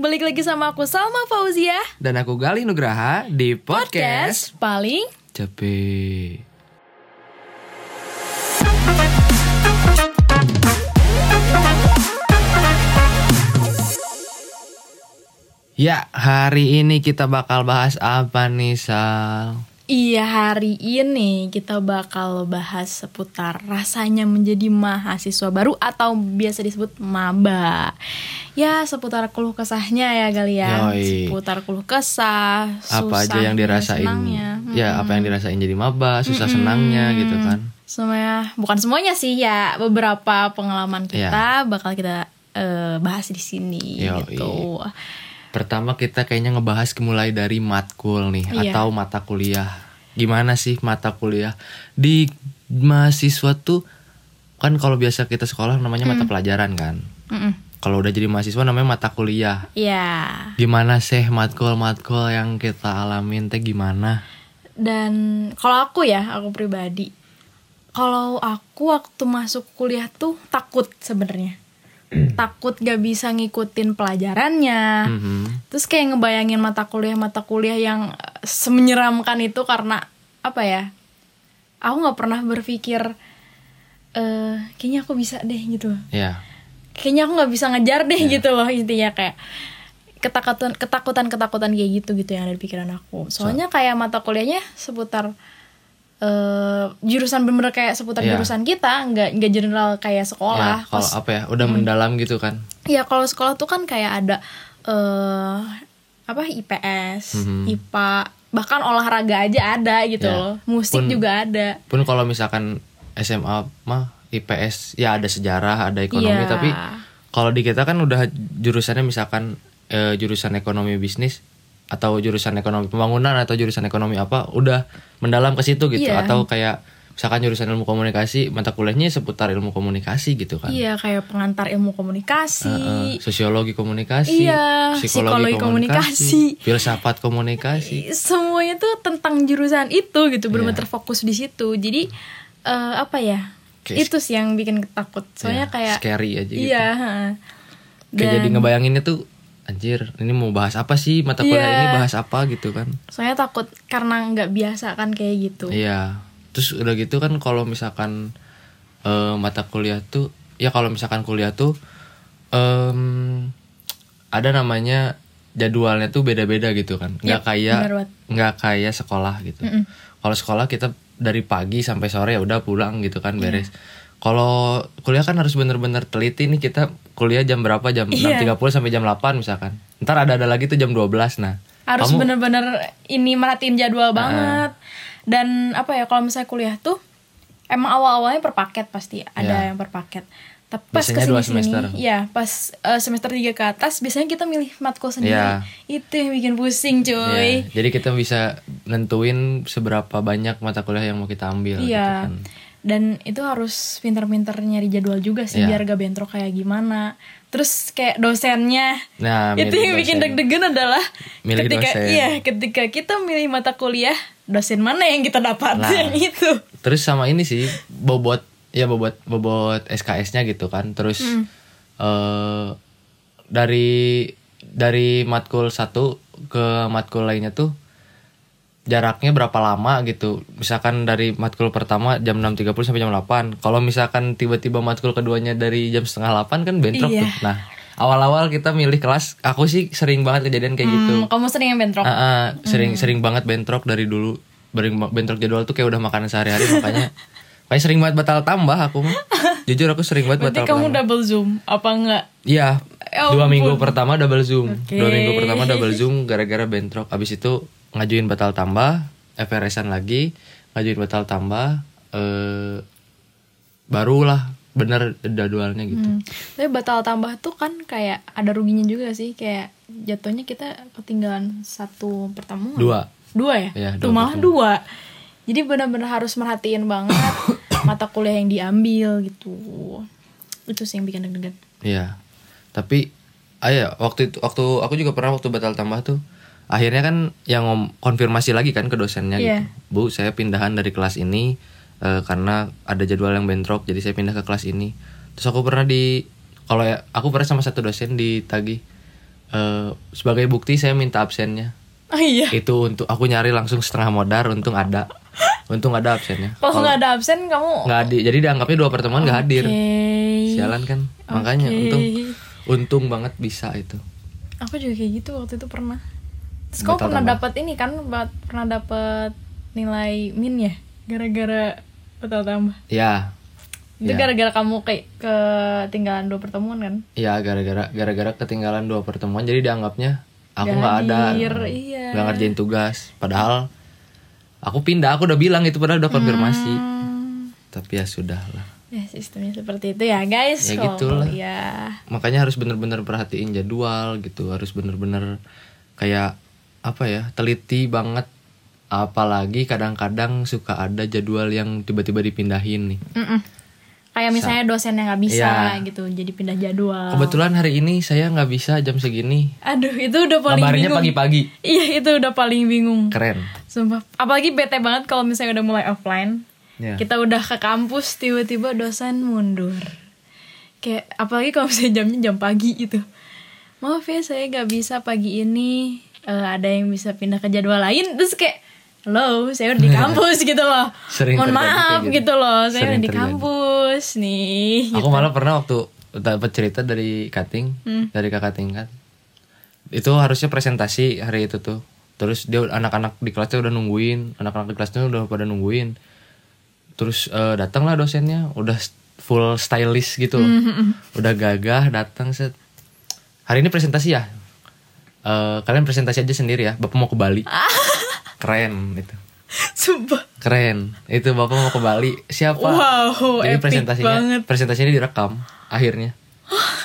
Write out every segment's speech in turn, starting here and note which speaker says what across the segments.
Speaker 1: Balik lagi sama aku Salma Fauzia
Speaker 2: Dan aku Gali Nugraha di
Speaker 1: Podcast
Speaker 2: podcast,
Speaker 1: paling
Speaker 2: Cepi. Ya, hari ini kita bakal bahas apa nih, Sal?
Speaker 1: Iya hari ini kita bakal bahas seputar rasanya menjadi mahasiswa baru atau biasa disebut maba Ya seputar keluh kesahnya ya kali ya
Speaker 2: Yoi.
Speaker 1: Seputar keluh kesah
Speaker 2: Apa aja
Speaker 1: susahnya,
Speaker 2: yang dirasain?
Speaker 1: senangnya. Hmm.
Speaker 2: Ya, apa yang dirasain jadi maba, susah senangnya gitu kan.
Speaker 1: Semuanya, bukan semuanya sih ya Beberapa
Speaker 2: Ya.
Speaker 1: pengalaman kita bakal kita eh, bahas di sini
Speaker 2: Yoi.
Speaker 1: gitu
Speaker 2: Pertama kita kayaknya ngebahas mulai dari matkul nih
Speaker 1: Iya.
Speaker 2: atau mata kuliah. Gimana sih mata kuliah di mahasiswa tuh kan kalau biasa kita sekolah namanya
Speaker 1: Hmm.
Speaker 2: mata pelajaran kan.
Speaker 1: Mm-mm.
Speaker 2: Kalau udah jadi mahasiswa namanya mata kuliah.
Speaker 1: Ya
Speaker 2: Gimana sih matkul-matkul yang kita alamin teh gimana?
Speaker 1: dan kalau aku ya aku pribadi kalau aku waktu masuk kuliah tuh takut sebenarnya takut gak bisa ngikutin pelajarannya
Speaker 2: Mhm.
Speaker 1: terus kayak ngebayangin mata kuliah mata kuliah yang eh, semenyeramkan itu karena apa ya aku nggak pernah berpikir eh kayaknya aku bisa deh gitu
Speaker 2: Ya.
Speaker 1: kayaknya aku nggak bisa ngejar deh
Speaker 2: Iya.
Speaker 1: gitu loh intinya kayak ketakutan ketakutan ketakutan kayak gitu gitu yang ada di pikiran aku soalnya kayak mata kuliahnya seputar eh jurusan bener kayak seputar
Speaker 2: Iya.
Speaker 1: jurusan kita nggak nggak general kayak sekolah Hmm.
Speaker 2: ya, kalau
Speaker 1: Pas-
Speaker 2: apa ya? Udah mendalam gitu kan.
Speaker 1: ya kalau sekolah tuh kan kayak ada eh apa IPS
Speaker 2: Mhm.
Speaker 1: IPA bahkan olahraga aja ada gitu
Speaker 2: Iya.
Speaker 1: loh musik
Speaker 2: Pun-
Speaker 1: juga ada
Speaker 2: Pun kalau misalkan SMA mah IPS ya ada sejarah, ada ekonomi,
Speaker 1: Iya.
Speaker 2: tapi kalau di kita kan udah jurusannya misalkan eh, jurusan ekonomi bisnis atau jurusan ekonomi pembangunan atau jurusan ekonomi apa udah mendalam ke situ gitu
Speaker 1: Iya.
Speaker 2: atau kayak misalkan jurusan ilmu komunikasi mata kuliahnya seputar ilmu komunikasi gitu kan.
Speaker 1: iya kayak pengantar ilmu komunikasi
Speaker 2: Eh, sosiologi komunikasi,
Speaker 1: Iya, psikologi
Speaker 2: psikologi komunikasi, filsafat komunikasi.
Speaker 1: semuanya tuh tentang jurusan itu gitu benar
Speaker 2: Iya.
Speaker 1: terfokus di situ jadi eh, apa ya
Speaker 2: Kayak
Speaker 1: itu sih yang bikin takut soalnya
Speaker 2: Ya,
Speaker 1: kayak
Speaker 2: scary aja gitu.
Speaker 1: iya heeh.
Speaker 2: Kayak
Speaker 1: Dan-
Speaker 2: jadi ngebayanginnya tuh anjir, ini mau bahas apa sih mata kuliah
Speaker 1: Iya.
Speaker 2: ini bahas apa gitu kan.
Speaker 1: soalnya takut karena nggak biasa kan kayak gitu
Speaker 2: Iya. Terus udah gitu kan kalau misalkan eh, mata kuliah tuh ya kalau misalkan kuliah tuh em, ada namanya jadwalnya tuh beda-beda gitu kan. nggak
Speaker 1: Yap,
Speaker 2: kayak
Speaker 1: Iya, benar banget.
Speaker 2: nggak kayak sekolah gitu. Kalau sekolah kita dari pagi sampai sore ya udah pulang gitu
Speaker 1: Iya.
Speaker 2: kan beres. Kalau kuliah kan harus bener-bener teliti nih kita kuliah jam berapa jam
Speaker 1: Iya.
Speaker 2: 6.30 sampai jam 8 misalkan. Ntar ada-ada lagi tuh jam 12 nah.
Speaker 1: harus
Speaker 2: Kamu-
Speaker 1: bener-bener ini merhatiin jadwal banget dan apa ya kalau misalnya kuliah tuh emang awal-awalnya per paket pasti ada yang per paket tapi pas
Speaker 2: Iya. Biasanya dua
Speaker 1: kesini-sini,
Speaker 2: semester.
Speaker 1: ya pas eh, semester 3 ke atas biasanya kita milih matkul sendiri
Speaker 2: Iya.
Speaker 1: itu yang bikin pusing cuy
Speaker 2: Iya, jadi kita bisa nentuin seberapa banyak mata kuliah yang mau kita ambil gitu
Speaker 1: Iya.
Speaker 2: kan.
Speaker 1: Dan itu harus pinter-pinter nyari jadwal juga sih
Speaker 2: Iya.
Speaker 1: biar gak bentrok kayak gimana. Terus kayak dosennya.
Speaker 2: Nah,
Speaker 1: itu
Speaker 2: milih
Speaker 1: yang bikin
Speaker 2: dosen.
Speaker 1: deg-degan adalah
Speaker 2: Milih
Speaker 1: ketika
Speaker 2: dosen.
Speaker 1: iya, ketika kita milih mata kuliah, dosen mana yang kita dapat Gitu.
Speaker 2: Nah.
Speaker 1: yang itu.
Speaker 2: Terus sama ini sih bobot ya bobot bobot SKS-nya gitu kan. Terus eh, dari dari matkul satu ke matkul lainnya tuh jaraknya berapa lama gitu. Misalkan dari matkul pertama jam 6.30 sampai jam 8. Kalau misalkan tiba-tiba matkul keduanya dari jam setengah 8 kan bentrok
Speaker 1: Iya.
Speaker 2: tuh. Nah, awal-awal kita milih kelas, aku sih sering banget kejadian kayak gitu.
Speaker 1: Hmm, kamu sering yang bentrok. Hmm.
Speaker 2: Ah, ah, sering sering banget bentrok dari dulu. Bering- bentrok jadwal tuh kayak udah makanan sehari-hari makanya kayak sering banget batal tambah aku. mah. Jujur aku sering banget
Speaker 1: Berarti
Speaker 2: batal.
Speaker 1: kamu
Speaker 2: tambah.
Speaker 1: double zoom apa enggak?
Speaker 2: Iya.
Speaker 1: Ya
Speaker 2: dua
Speaker 1: ampun.
Speaker 2: minggu pertama double zoom.
Speaker 1: Oke.
Speaker 2: Dua minggu pertama double zoom gara-gara bentrok. Abis itu ngajuin batal tambah, FRS-an lagi, ngajuin batal tambah eh barulah bener jadwalnya gitu.
Speaker 1: Hmm. Tapi batal tambah tuh kan kayak ada ruginya juga sih kayak jatuhnya kita ketinggalan satu pertemuan.
Speaker 2: Dua.
Speaker 1: dua ya,
Speaker 2: Iya,
Speaker 1: tuh
Speaker 2: dua
Speaker 1: malah
Speaker 2: pertemuan.
Speaker 1: dua jadi benar-benar harus merhatiin banget mata kuliah yang diambil gitu itu sih yang bikin deg-degan
Speaker 2: Iya. Tapi ayo waktu itu waktu aku juga pernah waktu batal tambah tuh akhirnya kan yang ngom- konfirmasi lagi kan ke dosennya
Speaker 1: Iya.
Speaker 2: gitu. Bu, saya pindahan dari kelas ini eh, karena ada jadwal yang bentrok jadi saya pindah ke kelas ini. Terus aku pernah di kalau ya aku pernah sama satu dosen ditagih eh, sebagai bukti saya minta absennya
Speaker 1: Oh iya.
Speaker 2: itu untuk aku nyari langsung setengah modar untung ada untung ada absennya
Speaker 1: Kalau nggak ada absen kamu.
Speaker 2: nggak hadir jadi dianggapnya dua pertemuan nggak hadir
Speaker 1: Oke.
Speaker 2: sialan kan makanya
Speaker 1: Oke.
Speaker 2: untung untung banget bisa itu
Speaker 1: Aku juga kayak gitu waktu itu pernah. Terus
Speaker 2: Nggak
Speaker 1: kamu
Speaker 2: tahu
Speaker 1: pernah
Speaker 2: kenapa.
Speaker 1: dapat ini kan buat- pernah dapat nilai min ya gara-gara betul tambah.
Speaker 2: ya
Speaker 1: Itu
Speaker 2: Ya.
Speaker 1: gara-gara kamu kayak ketinggalan dua pertemuan kan?
Speaker 2: ya gara-gara gara-gara ketinggalan dua pertemuan jadi dianggapnya aku
Speaker 1: Nggak
Speaker 2: nggak ada
Speaker 1: hadir, iya.
Speaker 2: nggak ngerjain tugas padahal aku pindah aku udah bilang itu padahal udah konfirmasi
Speaker 1: Hmm,
Speaker 2: tapi ya sudah lah
Speaker 1: ya sistemnya seperti itu ya guys. iya.
Speaker 2: Ya
Speaker 1: Kalau
Speaker 2: gitulah.
Speaker 1: kuliah.
Speaker 2: makanya harus bener-bener perhatiin jadwal gitu harus bener-bener kayak apa ya teliti banget apalagi kadang-kadang suka ada jadwal yang tiba-tiba dipindahin nih
Speaker 1: Mm-mm. Kayak misalnya dosen yang nggak bisa
Speaker 2: Iya.
Speaker 1: gitu, jadi pindah jadwal.
Speaker 2: kebetulan hari ini saya nggak bisa jam segini
Speaker 1: Aduh, itu udah paling
Speaker 2: kabarnya
Speaker 1: bingung.
Speaker 2: pagi-pagi
Speaker 1: Iya, itu udah paling bingung.
Speaker 2: keren
Speaker 1: Sumpah. Apalagi bete banget kalau misalnya udah mulai offline.
Speaker 2: Ya.
Speaker 1: Kita udah ke kampus, tiba-tiba dosen mundur. Kayak apalagi kalau misalnya jamnya jam pagi gitu. Maaf ya, saya nggak bisa pagi ini. Eh, ada yang bisa pindah ke jadwal lain. Terus kayak, lo, saya udah di kampus gitu loh.
Speaker 2: Sering
Speaker 1: Mohon
Speaker 2: terjadi kayak
Speaker 1: maaf
Speaker 2: gitu.
Speaker 1: gitu loh, saya
Speaker 2: Sering
Speaker 1: udah di
Speaker 2: terjadi.
Speaker 1: kampus nih.
Speaker 2: Aku malah pernah waktu dapat cerita dari cutting,
Speaker 1: Hmm.
Speaker 2: dari kakak tingkat. Itu harusnya presentasi hari itu tuh. Terus dia anak-anak di kelasnya udah nungguin, anak-anak di kelasnya udah pada nungguin. Terus eh, datanglah dosennya, udah s- full stylish gitu loh.
Speaker 1: Hmm,
Speaker 2: Udah gagah datang set. Hari ini presentasi ya? Eh, kalian presentasi aja sendiri ya. Bapak mau ke Bali. Keren itu.
Speaker 1: Sumpah.
Speaker 2: Keren. Itu Bapak mau ke Bali. Siapa?
Speaker 1: Wow,
Speaker 2: Jadi
Speaker 1: epic
Speaker 2: presentasinya,
Speaker 1: banget.
Speaker 2: presentasinya direkam akhirnya.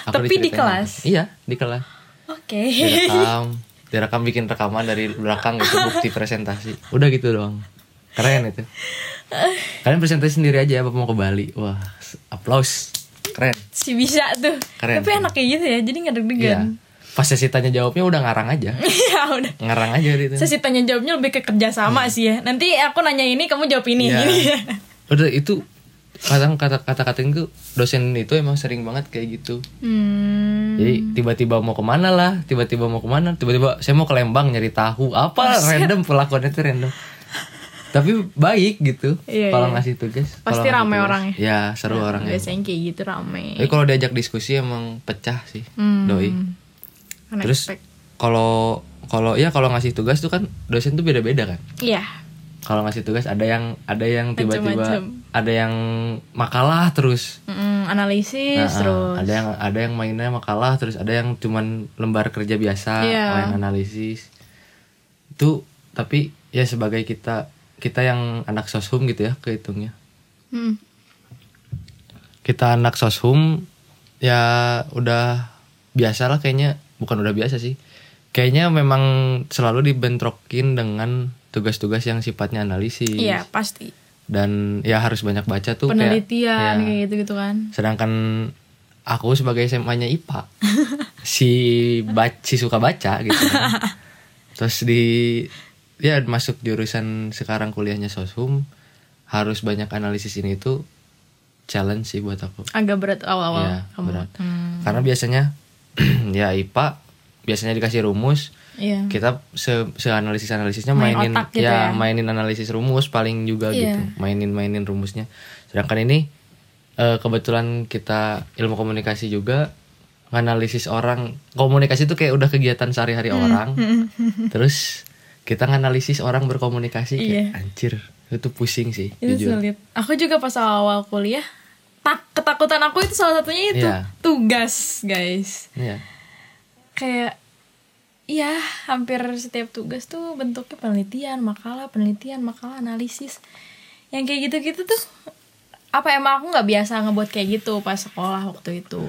Speaker 1: tapi di
Speaker 2: diceritain.
Speaker 1: kelas?
Speaker 2: Iya, di kelas.
Speaker 1: Oke.
Speaker 2: Direkam, direkam bikin rekaman dari belakang gitu bukti presentasi. Udah gitu doang. Keren itu. Kalian presentasi sendiri aja ya, Bapak mau ke Bali. Wah, s- applause. Keren.
Speaker 1: Si bisa tuh.
Speaker 2: Keren.
Speaker 1: Tapi enak kayak gitu ya, jadi nggak deg-degan.
Speaker 2: Iya. Pas sesi tanya jawabnya udah ngarang aja.
Speaker 1: Iya, udah.
Speaker 2: Ngarang aja gitu.
Speaker 1: Sesi tanya jawabnya lebih ke kerjasama sih ya. Nanti aku nanya ini, kamu jawab ini.
Speaker 2: Hmm.
Speaker 1: ya.
Speaker 2: Iya.
Speaker 1: Gini.
Speaker 2: Udah itu kadang kata kata katain tuh dosen itu emang sering banget kayak gitu.
Speaker 1: Hmm.
Speaker 2: Jadi tiba-tiba mau kemana lah, tiba-tiba mau kemana, tiba-tiba saya mau ke Lembang nyari tahu, apa random perlakuannya tuh random. Tapi baik gitu,
Speaker 1: Iya,
Speaker 2: kalau
Speaker 1: iya.
Speaker 2: ngasih tugas.
Speaker 1: Pasti
Speaker 2: kalau ngasih
Speaker 1: rame
Speaker 2: tugas.
Speaker 1: orangnya. Iya,
Speaker 2: Ya Eh, seru orangnya.
Speaker 1: Biasanya kayak gitu rame.
Speaker 2: Tapi kalau diajak diskusi emang pecah sih,
Speaker 1: Hmm.
Speaker 2: doi. Terus
Speaker 1: Unexpected.
Speaker 2: kalau kalau ya kalau ngasih tugas tuh kan dosen tuh beda-beda kan.
Speaker 1: Iya.
Speaker 2: Kalau ngasih tugas ada yang ada yang tiba-tiba
Speaker 1: Macem-macem.
Speaker 2: ada yang makalah terus.
Speaker 1: Mm, analisis
Speaker 2: Nah,
Speaker 1: terus.
Speaker 2: ada yang ada yang mainnya makalah terus ada yang cuman lembar kerja biasa
Speaker 1: Iya.
Speaker 2: ada yang analisis itu tapi ya sebagai kita kita yang anak soshum gitu ya kehitungnya
Speaker 1: Mm.
Speaker 2: kita anak soshum ya udah biasa lah kayaknya bukan udah biasa sih kayaknya memang selalu dibentrokin dengan tugas-tugas yang sifatnya analisis
Speaker 1: Iya, pasti.
Speaker 2: dan ya harus banyak baca tuh kayak-
Speaker 1: Penelitian
Speaker 2: ya.
Speaker 1: kayak gitu-gitu kan.
Speaker 2: Sedangkan aku sebagai SMA-nya IPA. si bac si suka baca gitu. kan. Terus di ya masuk jurusan sekarang kuliahnya soshum harus banyak analisis ini itu challenge sih buat aku.
Speaker 1: Agak berat awal-awal.
Speaker 2: Iya,
Speaker 1: Oh, kamu.
Speaker 2: berat.
Speaker 1: Hmm.
Speaker 2: Karena biasanya ya IPA biasanya dikasih rumus
Speaker 1: Iya.
Speaker 2: kita se, analisis analisisnya
Speaker 1: Main
Speaker 2: mainin
Speaker 1: otak gitu
Speaker 2: ya,
Speaker 1: ya.
Speaker 2: mainin analisis rumus paling juga
Speaker 1: Iya.
Speaker 2: gitu mainin mainin rumusnya sedangkan ini eh, kebetulan kita ilmu komunikasi juga nganalisis orang komunikasi itu kayak udah kegiatan sehari-hari
Speaker 1: Hmm.
Speaker 2: orang terus kita nganalisis orang berkomunikasi kayak
Speaker 1: Iya.
Speaker 2: anjir itu pusing sih
Speaker 1: Itu
Speaker 2: jujur
Speaker 1: sulit. Aku juga pas awal kuliah, tak ketakutan aku itu salah satunya itu
Speaker 2: Iya.
Speaker 1: tugas, guys.
Speaker 2: Iya.
Speaker 1: Kayak Iya, hampir setiap tugas tuh bentuknya penelitian, makalah, penelitian, makalah, analisis. Yang kayak gitu-gitu tuh apa emang aku nggak biasa ngebuat kayak gitu pas sekolah waktu itu.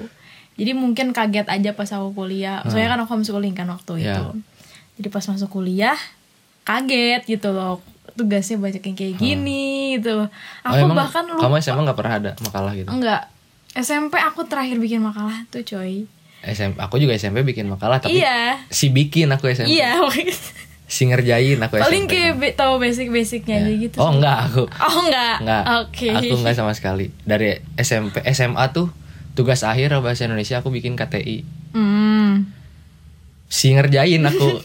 Speaker 1: Jadi mungkin kaget aja pas aku kuliah. Soalnya kan aku homeschooling kan waktu
Speaker 2: Hmm. Iya.
Speaker 1: itu. Jadi pas masuk kuliah kaget gitu loh. Tugasnya banyak yang kayak gini gitu loh.
Speaker 2: Hmm. Oh,
Speaker 1: Aku
Speaker 2: emang
Speaker 1: bahkan Oh. lupa
Speaker 2: kamu SMA nggak pernah ada makalah gitu
Speaker 1: enggak. SMP aku terakhir bikin makalah tuh coy.
Speaker 2: SMP aku juga SMP bikin makalah tapi
Speaker 1: Iya.
Speaker 2: si bikin aku SMP
Speaker 1: Iya,
Speaker 2: si ngerjain aku
Speaker 1: paling
Speaker 2: SMP.
Speaker 1: kayak be- tahu basic-basicnya aja gitu.
Speaker 2: Oh enggak aku.
Speaker 1: Oh enggak.
Speaker 2: Enggak.
Speaker 1: Oke.
Speaker 2: Aku enggak sama sekali. Dari SMP SMA tuh tugas akhir bahasa Indonesia aku bikin KTI.
Speaker 1: Hmm.
Speaker 2: si ngerjain aku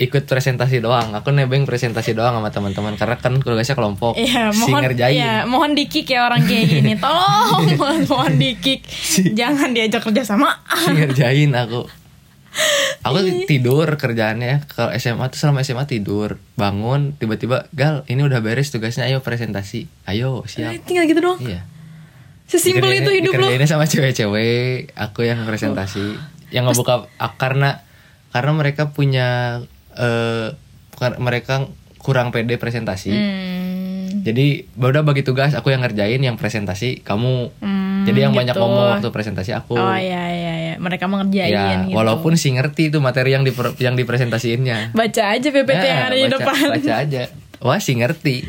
Speaker 2: ikut presentasi doang aku nebeng presentasi doang sama teman-teman karena kan keluarganya kelompok
Speaker 1: Iya,
Speaker 2: si
Speaker 1: mohon
Speaker 2: ngerjain
Speaker 1: iya, mohon dikik ya orang kayak gini. Tolong mohon, mohon dikik. Jangan diajak kerja sama.
Speaker 2: si ngerjain aku aku tidur kerjaannya kalau SMA tuh selama SMA tidur bangun tiba-tiba gal ini udah beres tugasnya ayo presentasi ayo siap
Speaker 1: Tinggal gitu doang.
Speaker 2: iya
Speaker 1: Sesimpel itu hidup lo.
Speaker 2: dikerjainnya sama cewek-cewek aku yang presentasi
Speaker 1: Oh.
Speaker 2: yang ngebuka ah, karena karena mereka punya eh kar- mereka kurang pede presentasi
Speaker 1: Hmm.
Speaker 2: jadi udah bagi tugas aku yang ngerjain yang presentasi kamu
Speaker 1: Hmm,
Speaker 2: jadi yang banyak
Speaker 1: gitu.
Speaker 2: ngomong waktu presentasi aku
Speaker 1: Oh iya iya iya, mereka mengerjain
Speaker 2: ya
Speaker 1: gitu.
Speaker 2: walaupun sih ngerti tuh materi yang di yang dipresentasiinnya
Speaker 1: baca aja PPT yang
Speaker 2: Nah,
Speaker 1: ada di
Speaker 2: baca-
Speaker 1: depan.
Speaker 2: baca aja wah sih ngerti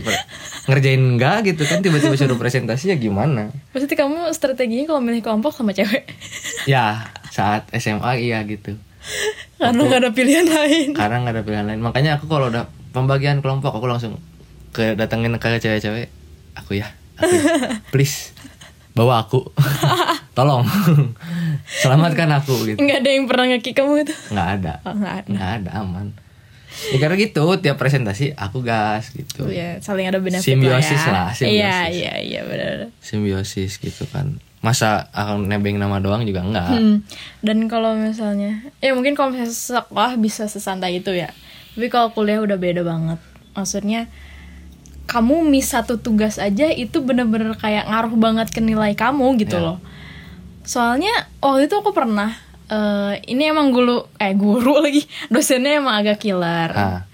Speaker 2: ngerjain enggak gitu kan tiba-tiba suruh presentasi ya gimana
Speaker 1: Maksudnya kamu strateginya kalau milih kelompok sama cewek
Speaker 2: ya saat SMA iya gitu
Speaker 1: karena gak ada pilihan lain.
Speaker 2: karena nggak ada pilihan lain makanya aku kalau udah pembagian kelompok aku langsung ke datengin ke cewek-cewek aku ya aku ya. please bawa aku tolong selamatkan aku gitu
Speaker 1: Nggak ada yang pernah ngeki kamu itu.
Speaker 2: nggak ada
Speaker 1: Oh, nggak ada.
Speaker 2: nggak ada aman ya karena gitu tiap presentasi aku gas gitu
Speaker 1: Iya, saling ada benefit
Speaker 2: Simbiosis
Speaker 1: lah
Speaker 2: lah,
Speaker 1: ya.
Speaker 2: simbiosis.
Speaker 1: Iya, iya, iya benar.
Speaker 2: simbiosis gitu kan masa akan nebeng nama doang juga enggak
Speaker 1: Hmm. Dan kalau misalnya, ya mungkin kalau misalnya sekolah bisa sesantai itu ya. Tapi kalau kuliah udah beda banget. Maksudnya kamu miss satu tugas aja itu bener-bener kayak ngaruh banget ke nilai kamu gitu
Speaker 2: Iya.
Speaker 1: loh. Soalnya waktu itu aku pernah eh, ini emang guru eh guru lagi dosennya emang agak killer.
Speaker 2: ah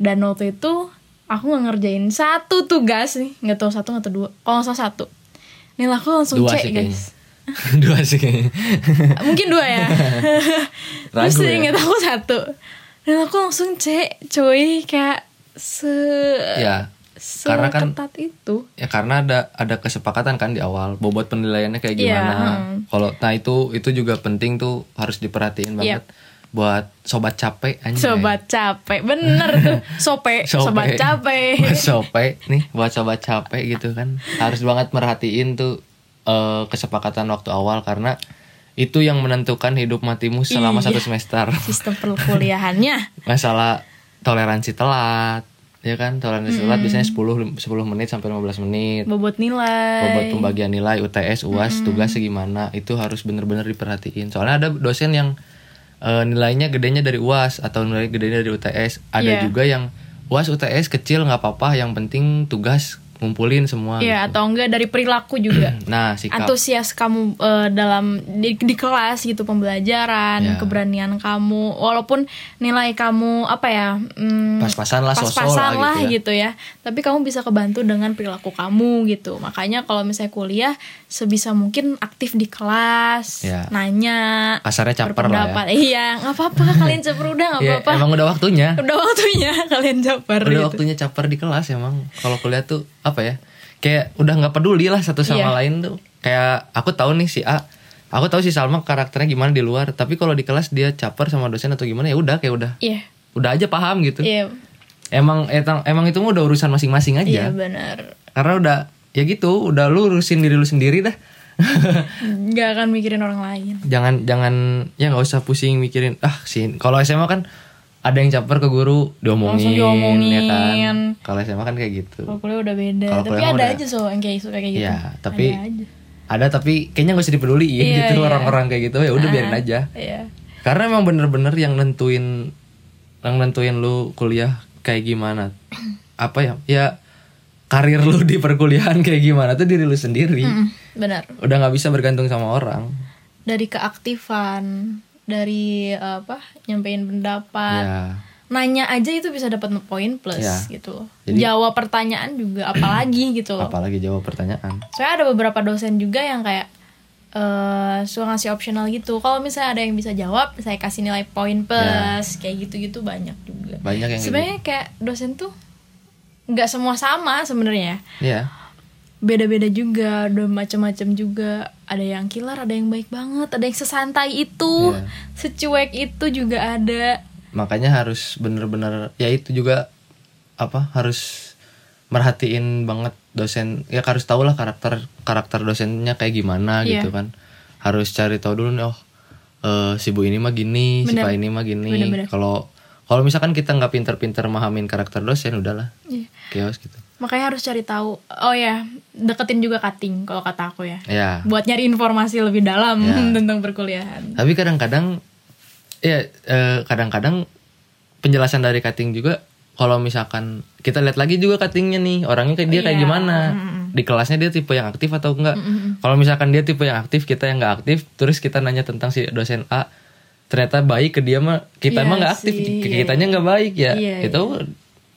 Speaker 1: Dan waktu itu aku nggak ngerjain satu tugas nih, nggak tahu satu atau dua. Kalau nggak salah satu. Nilai aku langsung
Speaker 2: dua
Speaker 1: cek
Speaker 2: sih kayaknya
Speaker 1: guys.
Speaker 2: dua sih kayaknya
Speaker 1: Mungkin dua ya. Terus
Speaker 2: Ragu ya?
Speaker 1: inget aku satu. Dan aku langsung cek cuy kayak se
Speaker 2: ya karena kan-
Speaker 1: seketat itu.
Speaker 2: ya karena ada ada kesepakatan kan di awal bobot penilaiannya kayak
Speaker 1: Iya,
Speaker 2: gimana
Speaker 1: heeh.
Speaker 2: kalau nah itu itu juga penting tuh harus diperhatiin banget buat sobat capek anjay
Speaker 1: Iya. Sobat capek, bener tuh. Sope, sobat capek.
Speaker 2: buat sope nih buat sobat capek gitu kan harus banget merhatiin tuh eh, kesepakatan waktu awal karena itu yang menentukan hidup matimu selama
Speaker 1: Iya.
Speaker 2: satu semester
Speaker 1: Sistem perkuliahannya.
Speaker 2: masalah toleransi telat ya kan toleransi
Speaker 1: Hmm.
Speaker 2: telat biasanya 10 10 menit sampai 15 menit
Speaker 1: Bobot
Speaker 2: buat
Speaker 1: nilai.
Speaker 2: pembagian nilai UTS UAS tugas segimana itu harus bener-bener diperhatiin soalnya ada dosen yang eh, nilainya gedenya dari UAS atau nilai gedenya dari UTS ada
Speaker 1: Iya.
Speaker 2: juga yang UAS UTS kecil nggak apa-apa yang penting tugas ngumpulin semua
Speaker 1: Iya,
Speaker 2: gitu.
Speaker 1: atau enggak dari perilaku juga.
Speaker 2: nah sikap
Speaker 1: antusias kamu eh, dalam di, di kelas gitu pembelajaran
Speaker 2: Ya.
Speaker 1: keberanian kamu walaupun nilai kamu apa ya hmm,
Speaker 2: Pas-pasan lah, sosol
Speaker 1: pas-pasan
Speaker 2: lah gitu
Speaker 1: ya tapi kamu bisa kebantu dengan perilaku kamu gitu makanya kalau misalnya kuliah sebisa mungkin aktif di kelas
Speaker 2: Ya.
Speaker 1: nanya
Speaker 2: kasarnya caper lah ya,
Speaker 1: iya nggak apa-apa kalian caper udah nggak
Speaker 2: Iya,
Speaker 1: apa-apa
Speaker 2: emang udah waktunya
Speaker 1: udah waktunya kalian caper
Speaker 2: udah
Speaker 1: gitu.
Speaker 2: waktunya caper di kelas emang kalau kuliah tuh apa ya kayak udah nggak peduli lah satu
Speaker 1: Iya.
Speaker 2: sama lain tuh kayak aku tahu nih si A aku tahu si Salma karakternya gimana di luar tapi kalau di kelas dia caper sama dosen atau gimana ya udah kayak udah
Speaker 1: iya
Speaker 2: udah aja paham gitu
Speaker 1: iya
Speaker 2: emang etang- emang itu mah udah urusan masing-masing
Speaker 1: iya
Speaker 2: aja
Speaker 1: benar
Speaker 2: karena udah ya gitu udah lu urusin diri lu sendiri dah
Speaker 1: nggak akan mikirin orang lain
Speaker 2: jangan jangan ya nggak usah pusing mikirin ah sih kalau SMA kan ada yang caper ke guru
Speaker 1: Langsung
Speaker 2: diomongin,
Speaker 1: diomongin.
Speaker 2: ya kan kalau SMA kan kayak gitu
Speaker 1: Kalau kuliah udah beda,
Speaker 2: Kalau
Speaker 1: tapi
Speaker 2: kuliah mah
Speaker 1: ada
Speaker 2: udah-
Speaker 1: aja so yang kayak suka kayak gitu.
Speaker 2: Iya, tapi-
Speaker 1: ada aja.
Speaker 2: ada tapi kayaknya gak usah dipeduliin
Speaker 1: Iya,
Speaker 2: gitu
Speaker 1: iya.
Speaker 2: orang-orang kayak gitu ya udah biarin aja
Speaker 1: Iya.
Speaker 2: karena emang bener-bener yang nentuin yang nentuin lu kuliah kayak gimana apa ya ya karir lu di perkuliahan kayak gimana tuh diri lu sendiri
Speaker 1: Mm, benar.
Speaker 2: udah nggak bisa bergantung sama orang
Speaker 1: Dari keaktifan, dari apa? nyampein pendapat.
Speaker 2: ya
Speaker 1: Nanya aja itu bisa dapat poin plus
Speaker 2: Iya.
Speaker 1: gitu loh.
Speaker 2: Jadi-
Speaker 1: Jawab pertanyaan juga apalagi gitu loh.
Speaker 2: apalagi jawab pertanyaan
Speaker 1: Soalnya ada beberapa dosen juga yang kayak eh suka ngasih optional gitu. Kalau misalnya ada yang bisa jawab, saya kasih nilai poin plus, kayak gitu-gitu banyak juga.
Speaker 2: banyak yang Iya. kayak gitu.
Speaker 1: Sebenarnya kayak dosen tuh nggak semua sama sebenarnya.
Speaker 2: Iya.
Speaker 1: beda-beda juga, udah macam-macam juga. Ada yang killer, ada yang baik banget, ada yang sesantai itu,
Speaker 2: Iya.
Speaker 1: secuek itu juga ada.
Speaker 2: makanya harus bener-bener ya itu juga apa harus merhatiin banget dosen ya harus tau lah karakter karakter dosennya kayak gimana
Speaker 1: Iya.
Speaker 2: gitu kan harus cari tahu dulu nih oh eh, si bu ini mah gini si
Speaker 1: Bener.
Speaker 2: pak ini mah
Speaker 1: Bener-bener.
Speaker 2: gini kalau kalau misalkan kita nggak pinter-pinter mahamin karakter dosen udahlah
Speaker 1: Iya.
Speaker 2: chaos gitu
Speaker 1: Makanya harus cari tahu. Oh ya, deketin juga cutting kalau kata aku ya.
Speaker 2: ya
Speaker 1: Buat nyari informasi lebih dalam
Speaker 2: Ya.
Speaker 1: tentang perkuliahan.
Speaker 2: tapi kadang-kadang ya eh, kadang-kadang penjelasan dari cutting juga kalau misalkan kita lihat lagi juga cuttingnya nih orangnya kayak dia kayak
Speaker 1: Iya.
Speaker 2: gimana di kelasnya dia tipe yang aktif atau enggak kalau misalkan dia tipe yang aktif kita yang enggak aktif terus kita nanya tentang si dosen A ternyata baik ke dia mah kita
Speaker 1: Iya
Speaker 2: mah nggak aktif
Speaker 1: sih,
Speaker 2: ke
Speaker 1: iya,
Speaker 2: kitanya nggak baik ya
Speaker 1: Iya,
Speaker 2: itu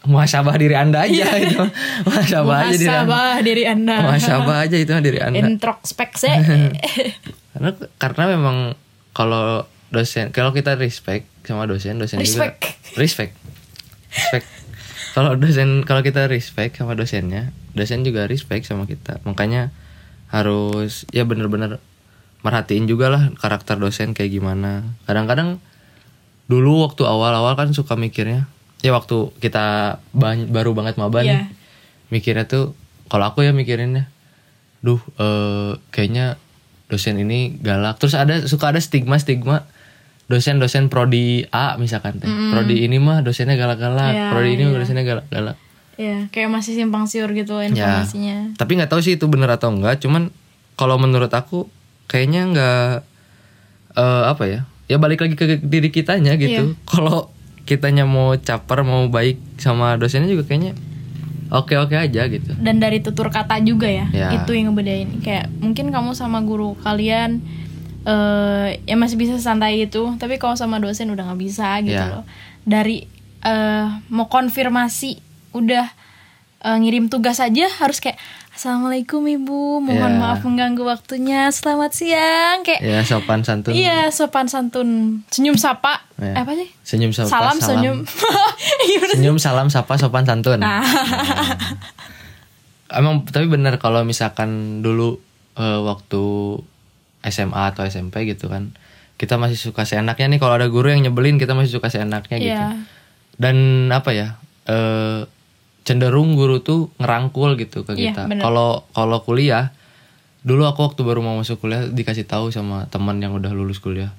Speaker 2: muhasabah diri anda aja itu muhasabah aja diri anda
Speaker 1: Muhasabah diri Anda.
Speaker 2: muhasabah aja itu diri anda
Speaker 1: Introspeksi.
Speaker 2: karena karena memang kalau dosen kalau kita respect sama dosen dosen
Speaker 1: Respect.
Speaker 2: juga respect respect kalau dosen kalau kita respect sama dosennya dosen juga respect sama kita makanya harus ya bener-bener merhatiin juga lah karakter dosen kayak gimana kadang-kadang dulu waktu awal-awal kan suka mikirnya ya waktu kita ban- baru banget maba nih
Speaker 1: Iya.
Speaker 2: mikirnya tuh kalau aku ya mikirinnya duh eh, kayaknya dosen ini galak terus ada suka ada stigma stigma dosen dosen prodi A misalkan teh prodi ini mah dosennya galak-galak
Speaker 1: Iya,
Speaker 2: prodi ini mah
Speaker 1: iya.
Speaker 2: dosennya galak-galak
Speaker 1: ya, kayak masih simpang siur gitu
Speaker 2: ya
Speaker 1: informasinya.
Speaker 2: tapi nggak tahu sih itu bener atau enggak cuman kalau menurut aku kayaknya nggak eh, apa ya ya balik lagi ke diri kitanya
Speaker 1: Iya.
Speaker 2: gitu kalau kitanya mau caper mau baik sama dosennya juga kayaknya oke oke aja gitu
Speaker 1: Dan dari tutur kata juga ya,
Speaker 2: Ya.
Speaker 1: itu yang ngebedain. Kayak mungkin kamu sama guru kalian eh ya masih bisa santai itu, tapi kalau sama dosen udah nggak bisa gitu
Speaker 2: Ya.
Speaker 1: loh. Dari eh mau konfirmasi udah eh, ngirim tugas aja harus kayak Assalamualaikum ibu, mohon
Speaker 2: Ya.
Speaker 1: maaf mengganggu waktunya. Selamat siang, kayak
Speaker 2: ya sopan santun
Speaker 1: Iya, sopan santun. Senyum sapa. Eh,
Speaker 2: Ya.
Speaker 1: Apa sih?
Speaker 2: senyum sapa,
Speaker 1: salam, senyum. Iya, Nah. Gimana?
Speaker 2: senyum salam sapa sopan santun emang tapi benar kalau misalkan dulu eh, waktu SMA atau SMP gitu kan kita masih suka seenaknya nih kalau ada guru yang nyebelin kita masih suka seenaknya gitu
Speaker 1: Iya.
Speaker 2: dan apa ya eh cenderung guru tuh ngerangkul gitu ke
Speaker 1: Iya,
Speaker 2: kita
Speaker 1: benar.
Speaker 2: kalau kalau kuliah dulu aku waktu baru mau masuk kuliah dikasih tahu sama teman yang udah lulus kuliah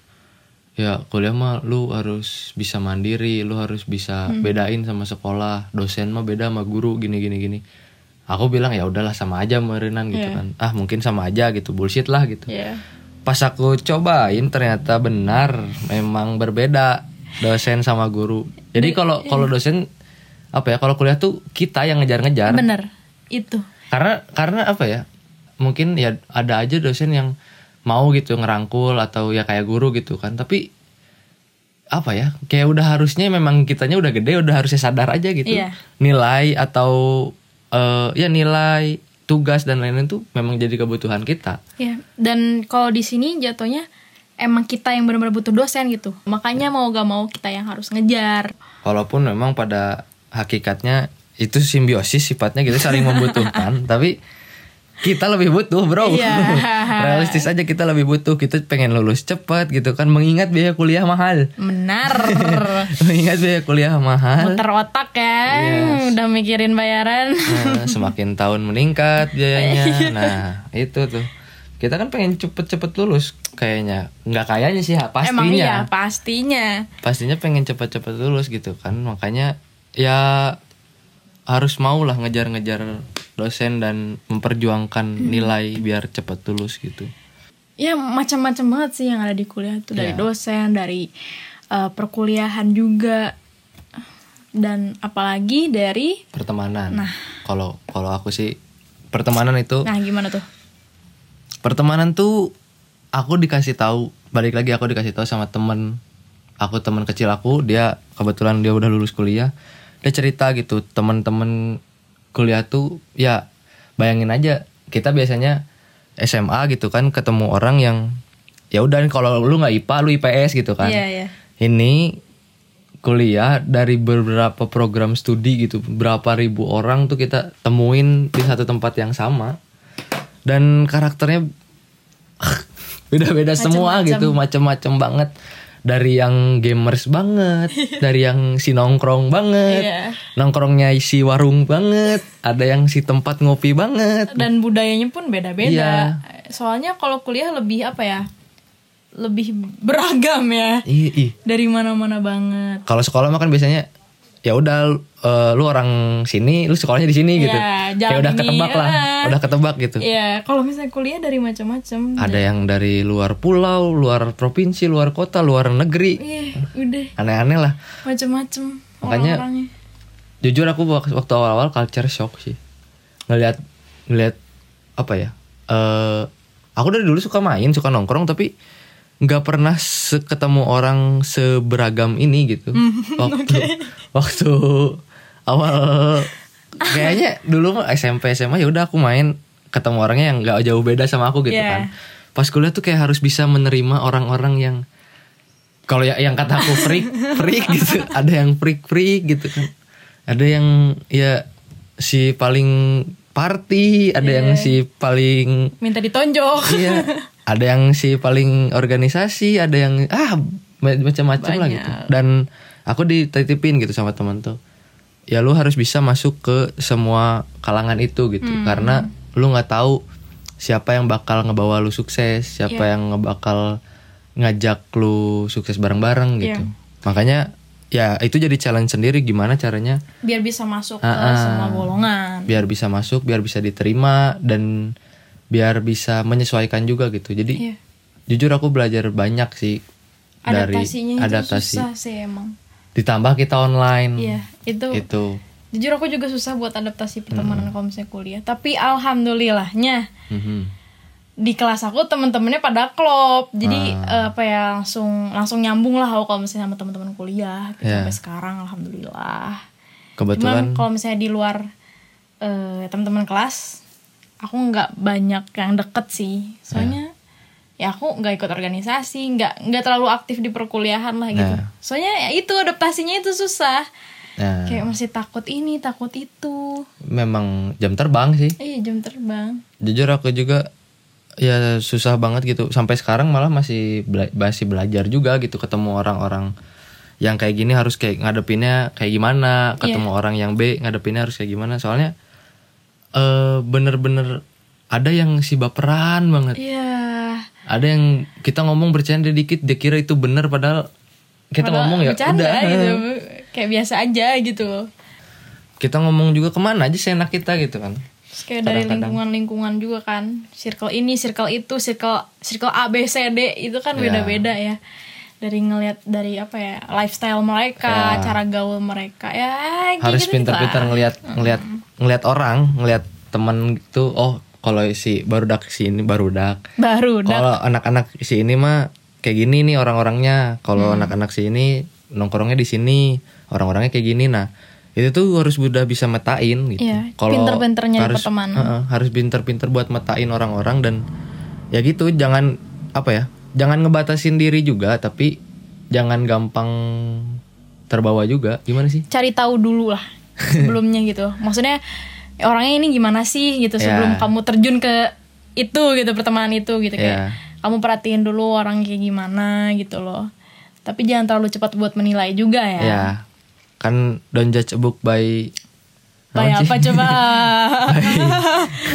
Speaker 2: ya kuliah mah lu harus bisa mandiri lu harus bisa
Speaker 1: Hmm.
Speaker 2: bedain sama sekolah dosen mah beda sama guru gini gini gini aku bilang ya udahlah sama aja merenan
Speaker 1: Iya.
Speaker 2: gitu kan ah mungkin sama aja gitu bullshit lah gitu
Speaker 1: Iya.
Speaker 2: pas aku cobain ternyata benar memang berbeda dosen sama guru jadi kalau kalau dosen apa ya kalau kuliah tuh kita yang ngejar-ngejar
Speaker 1: Bener. Itu.
Speaker 2: karena karena apa ya mungkin ya ada aja dosen yang mau gitu ngerangkul atau ya kayak guru gitu kan tapi apa ya kayak udah harusnya memang kitanya udah gede udah harusnya sadar aja gitu
Speaker 1: Iya.
Speaker 2: nilai atau eh, ya nilai tugas dan lain-lain tuh memang jadi kebutuhan kita
Speaker 1: Iya. Dan kalau di sini jatuhnya emang kita yang benar-benar butuh dosen gitu. Makanya mau gak mau kita yang harus ngejar.
Speaker 2: walaupun memang pada hakikatnya itu simbiosis sifatnya kita saling membutuhkan tapi kita lebih butuh bro
Speaker 1: Iya.
Speaker 2: realistis aja kita lebih butuh kita pengen lulus cepat gitu kan mengingat biaya kuliah mahal
Speaker 1: Benar.
Speaker 2: mengingat biaya kuliah mahal
Speaker 1: Muter otak kan. Udah mikirin bayaran.
Speaker 2: Nah, semakin tahun meningkat
Speaker 1: Iya.
Speaker 2: biayanya nah itu tuh kita kan pengen cepet-cepet lulus kayaknya nggak kayaknya sih ha, pastinya
Speaker 1: Emang iya, pastinya.
Speaker 2: pastinya pengen cepat-cepat lulus gitu kan makanya ya harus maulah ngejar-ngejar dosen dan memperjuangkan nilai biar cepat lulus gitu
Speaker 1: ya macam-macam banget sih yang ada di kuliah itu dari
Speaker 2: Iya.
Speaker 1: dosen dari eh, perkuliahan juga dan apalagi dari
Speaker 2: pertemanan kalau kalau aku sih pertemanan itu
Speaker 1: nah gimana tuh
Speaker 2: pertemanan tuh aku dikasih tahu balik lagi aku dikasih tahu sama temen aku temen kecil aku dia kebetulan dia udah lulus kuliah dia cerita gitu temen-temen kuliah tuh ya bayangin aja kita biasanya SMA gitu kan ketemu orang yang ya udah kalau lu nggak IPA lu IPS gitu kan
Speaker 1: iya iya
Speaker 2: ini kuliah dari beberapa program studi gitu berapa ribu orang tuh kita temuin di satu tempat yang sama dan karakternya ah, beda-beda semua gitu macem-macem banget dari yang gamers banget dari yang si nongkrong banget
Speaker 1: Iya.
Speaker 2: nongkrongnya si warung banget ada yang si tempat ngopi banget
Speaker 1: dan budayanya pun beda-beda
Speaker 2: Iya.
Speaker 1: soalnya kalau kuliah lebih apa ya lebih beragam ya
Speaker 2: Ih, Iya, ih.
Speaker 1: dari mana-mana banget
Speaker 2: Kalau sekolah mah kan biasanya ya udah lu- eh, lu orang sini, lu sekolahnya di sini gitu.
Speaker 1: jangan
Speaker 2: Ya udah
Speaker 1: ini,
Speaker 2: ketebak lah,
Speaker 1: eh.
Speaker 2: udah ketebak gitu.
Speaker 1: ya kalau misalnya kuliah dari macam-macam
Speaker 2: Ada yang dari luar pulau, luar provinsi, luar kota, luar negeri.
Speaker 1: Ih, Iya, udah
Speaker 2: Aneh-aneh lah.
Speaker 1: macam-macam
Speaker 2: Makanya-
Speaker 1: orang-orangnya
Speaker 2: Jujur aku wak- waktu awal-awal culture shock sih. Ngelihat ngelihat apa ya? Eh aku dari dulu suka main, suka nongkrong tapi nggak pernah se- ketemu orang seberagam ini gitu. waktu waktu awal kayaknya dulu mah SMP SMA ya udah aku main ketemu orangnya yang nggak jauh beda sama aku gitu
Speaker 1: Yeah.
Speaker 2: kan. Pas kuliah tuh kayak harus bisa menerima orang-orang yang kalau ya, yang kata aku freak freak gitu ada yang freak freak gitu kan ada yang ya si paling party ada yang si paling
Speaker 1: minta ditonjok
Speaker 2: iya ada yang si paling organisasi ada yang ah ma- macam-macam lah gitu dan aku dititipin gitu sama teman tuh ya lu harus bisa masuk ke semua kalangan itu gitu karena lu nggak tahu siapa yang bakal ngebawa lu sukses siapa yang bakal ngajak lu sukses bareng-bareng gitu makanya ya itu jadi challenge sendiri gimana caranya
Speaker 1: biar bisa masuk ke
Speaker 2: Ah, ah.
Speaker 1: semua golongan
Speaker 2: biar bisa masuk, biar bisa diterima dan biar bisa menyesuaikan juga gitu. Jadi
Speaker 1: Iya.
Speaker 2: jujur aku belajar banyak sih
Speaker 1: adaptasinya
Speaker 2: dari
Speaker 1: itu
Speaker 2: adaptasi. Hmm.
Speaker 1: susah sih emang
Speaker 2: Ditambah kita online.
Speaker 1: iya itu
Speaker 2: Itu.
Speaker 1: jujur aku juga susah buat adaptasi
Speaker 2: Hmm.
Speaker 1: pertemanan kalau misalnya kuliah tapi alhamdulillahnya
Speaker 2: Mhm.
Speaker 1: di kelas aku temen-temennya pada klop jadi eh, apa ya langsung langsung nyambung lah aku kalau misalnya sama teman-teman kuliah gitu,
Speaker 2: Iya.
Speaker 1: sampai sekarang alhamdulillah
Speaker 2: Kebetulan
Speaker 1: cuman kalau misalnya di luar eh, teman-teman kelas aku nggak banyak yang deket sih soalnya ya aku nggak ikut organisasi nggak nggak terlalu aktif di perkuliahan lah gitu
Speaker 2: Nah.
Speaker 1: soalnya ya itu adaptasinya itu susah
Speaker 2: nah,
Speaker 1: kayak masih takut ini takut itu
Speaker 2: memang jam terbang sih.
Speaker 1: eh jam terbang
Speaker 2: Jujur aku juga ya susah banget gitu. Sampai sekarang malah masih bela- masih belajar juga gitu ketemu orang-orang yang kayak gini harus kayak ngadepinnya kayak
Speaker 1: Iya.
Speaker 2: gimana, ketemu orang yang B ngadepinnya harus kayak gimana. Soalnya eh bener-bener ada yang si baperan banget.
Speaker 1: iya
Speaker 2: Ada yang kita ngomong bercanda dikit dia kira itu bener padahal kita
Speaker 1: Padahal
Speaker 2: ngomong ya
Speaker 1: bercanda
Speaker 2: udah.
Speaker 1: gitu kayak biasa aja gitu loh
Speaker 2: Kita ngomong juga kemana aja seenak kita gitu kan.
Speaker 1: Terus Eh, kayak dari lingkungan-lingkungan juga kan circle ini circle itu circle circle A B C D itu kan
Speaker 2: Iya.
Speaker 1: beda-beda ya dari ngelihat dari apa ya lifestyle mereka cara gaul mereka ya kayak
Speaker 2: Iya.
Speaker 1: gitu-gitu
Speaker 2: harus
Speaker 1: lah.
Speaker 2: pintar-pintar ngelihat ngelihat ngelihat orang ngelihat temen gitu oh kalau si barudak si ini barudak
Speaker 1: baru dah
Speaker 2: kalau anak-anak si ini mah kayak gini nih orang-orangnya kalau
Speaker 1: Hmm.
Speaker 2: anak-anak si ini nongkrongnya di sini orang-orangnya kayak gini nah itu tuh harus udah bisa metain gitu
Speaker 1: Iya, pinter-pinter nyari
Speaker 2: harus
Speaker 1: pertemanan.
Speaker 2: Heeh, harus pinter-pinter buat metain orang-orang dan ya gitu jangan apa ya jangan ngebatasin diri juga tapi jangan gampang terbawa juga gimana sih
Speaker 1: cari tahu dulu lah sebelumnya gitu maksudnya orangnya ini gimana sih gitu sebelum
Speaker 2: Ya.
Speaker 1: kamu terjun ke itu gitu pertemanan itu gitu kayak
Speaker 2: Ya.
Speaker 1: kamu perhatiin dulu orang kayak gimana gitu loh tapi jangan terlalu cepat buat menilai juga ya
Speaker 2: Ya, kan don't judge a book by
Speaker 1: Bayar apa coba?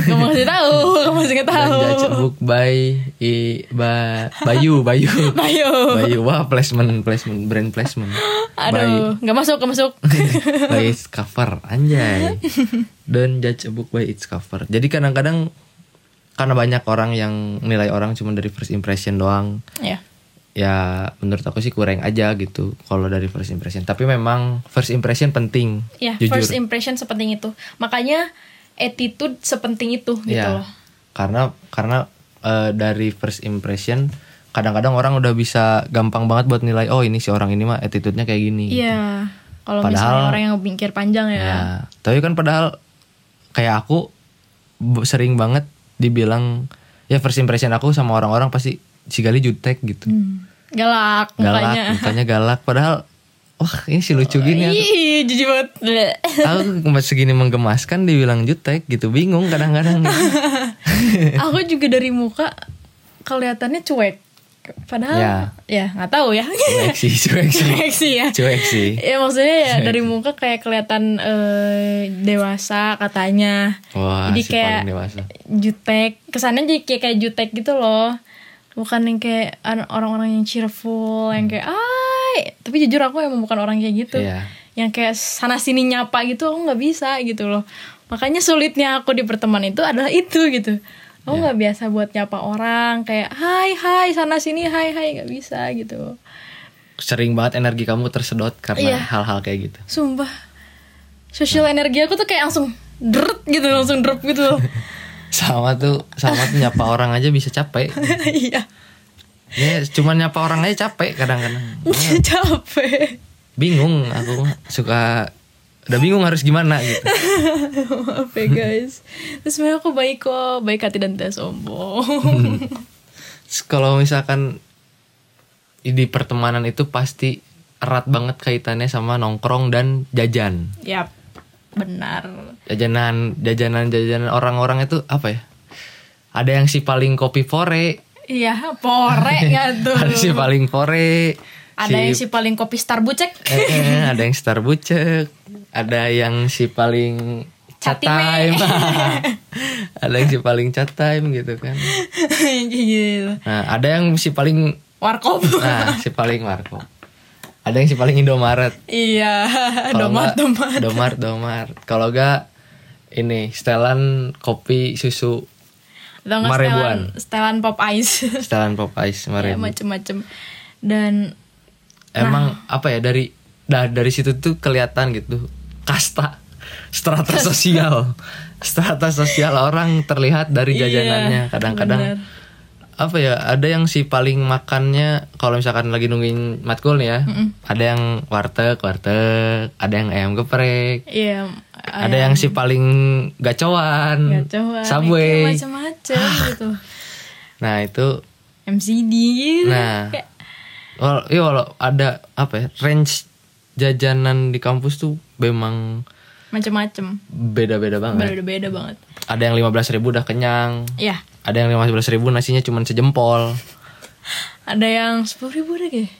Speaker 1: Gak mau kasih tahu, gak mau kasih tahu.
Speaker 2: don't judge a book by i ba, Bayu, Bayu.
Speaker 1: Bayu.
Speaker 2: Bayu, wah placement, placement, brand placement.
Speaker 1: Aduh, gak masuk, gak masuk.
Speaker 2: by its cover anjay don't judge a book by its cover jadi kadang-kadang karena banyak orang yang nilai orang cuma dari first impression doang
Speaker 1: ya.
Speaker 2: ya menurut aku sih kurang aja gitu kalau dari first impression tapi memang first impression penting
Speaker 1: Ya,
Speaker 2: jujur
Speaker 1: first impression sepenting itu. Makanya attitude sepenting itu gitu
Speaker 2: Ya,
Speaker 1: loh.
Speaker 2: karena karena eh, dari first impression kadang-kadang orang udah bisa gampang banget buat nilai oh ini si orang ini mah attitude-nya kayak gini
Speaker 1: Iya. Kalau
Speaker 2: gitu. Padahal-
Speaker 1: misalnya orang yang mikir panjang ya.
Speaker 2: Ya, tapi kan padahal kayak aku bu- sering banget dibilang ya first impression aku sama orang-orang pasti si Gali jutek gitu.
Speaker 1: Hmm, Galak
Speaker 2: galak,
Speaker 1: mukanya. Oh, iya.
Speaker 2: mukanya galak padahal wah ini si lucu gini. ya.
Speaker 1: Ih, jijik banget. Bleh.
Speaker 2: Aku cuma segini menggemaskan dibilang jutek gitu, bingung kadang-kadang.
Speaker 1: Aku juga dari muka kelihatannya cuek. Padahal ya nggak tahu ya.
Speaker 2: cuek sih, cuek sih.
Speaker 1: Cuek sih ya.
Speaker 2: Cuek sih.
Speaker 1: Ya maksudnya ya dari muka kayak kelihatan eh, dewasa katanya.
Speaker 2: Wah,
Speaker 1: Jadi
Speaker 2: si
Speaker 1: kayak
Speaker 2: paling dewasa.
Speaker 1: jutek, kesannya jadi kayak, kayak jutek gitu loh. bukan yang kayak an- orang-orang yang cheerful yang kayak ay tapi jujur aku emang bukan orang kayak gitu
Speaker 2: Iya.
Speaker 1: yang kayak sana sini nyapa gitu aku nggak bisa gitu loh makanya sulitnya aku di pertemanan itu adalah itu gitu aku nggak biasa buat nyapa orang kayak hai hai sana sini hai hai nggak bisa gitu
Speaker 2: sering banget energi kamu tersedot karena
Speaker 1: Iya.
Speaker 2: hal-hal kayak gitu
Speaker 1: sumpah sosial energi aku tuh kayak langsung deret gitu langsung drop gitu loh
Speaker 2: sama tuh sama tuh nyapa orang aja bisa capek
Speaker 1: iya
Speaker 2: ya cuman nyapa orang aja capek kadang-kadang
Speaker 1: capek
Speaker 2: bingung aku mah. suka udah bingung harus gimana gitu
Speaker 1: maaf ya guys terus sebenarnya aku baik kok baik hati dan tidak sombong
Speaker 2: Terus kalau misalkan di pertemanan itu pasti erat banget kaitannya sama nongkrong dan jajan
Speaker 1: yap benar
Speaker 2: jajanan jajanan jajanan orang-orang itu apa ya ada yang si paling kopi fore
Speaker 1: iya pore nggak tuh
Speaker 2: ada si paling fore
Speaker 1: ada yang si paling kopi star bucek
Speaker 2: eh, eh, ada yang star bucek ada yang si paling chat
Speaker 1: Catime.
Speaker 2: time ada yang si paling chat time gitu kan
Speaker 1: Kayak gitu
Speaker 2: nah ada yang si paling
Speaker 1: warkop
Speaker 2: nah si paling warkop ada yang si paling indomaret
Speaker 1: iya
Speaker 2: Kalau
Speaker 1: domat
Speaker 2: nggak-
Speaker 1: domat
Speaker 2: Domart, Domart. Kalau enggak ini setelan kopi susu,
Speaker 1: atau nggak
Speaker 2: Marebuan.
Speaker 1: setelan setelan pop ice
Speaker 2: setelan pop ice
Speaker 1: ya,
Speaker 2: kemarin.
Speaker 1: macem-macem dan Nah.
Speaker 2: Emang apa ya dari dah dari situ tuh kelihatan gitu kasta strata sosial. strata sosial orang terlihat dari
Speaker 1: Iya,
Speaker 2: jajanannya
Speaker 1: benar.
Speaker 2: kadang-kadang apa ya ada yang si paling makannya kalau misalkan lagi nungguin matkul nih ya ada yang warteg warteg ada yang ayam geprek
Speaker 1: iya
Speaker 2: ada yang si paling gacoan,
Speaker 1: coba
Speaker 2: subway. Ah.
Speaker 1: macem-macem gitu
Speaker 2: Nah itu,
Speaker 1: MCD gitu
Speaker 2: nah,
Speaker 1: Kayak-
Speaker 2: wal- iya walau ada apa ya range jajanan di kampus tuh memang
Speaker 1: macem-macem
Speaker 2: beda-beda banget.
Speaker 1: beda-beda banget
Speaker 2: Ada yang 15.000 ribu udah kenyang,
Speaker 1: ya
Speaker 2: ada yang 15.000 ribu nasinya cuma sejempol.
Speaker 1: ada yang sepuluh ribu deh kayak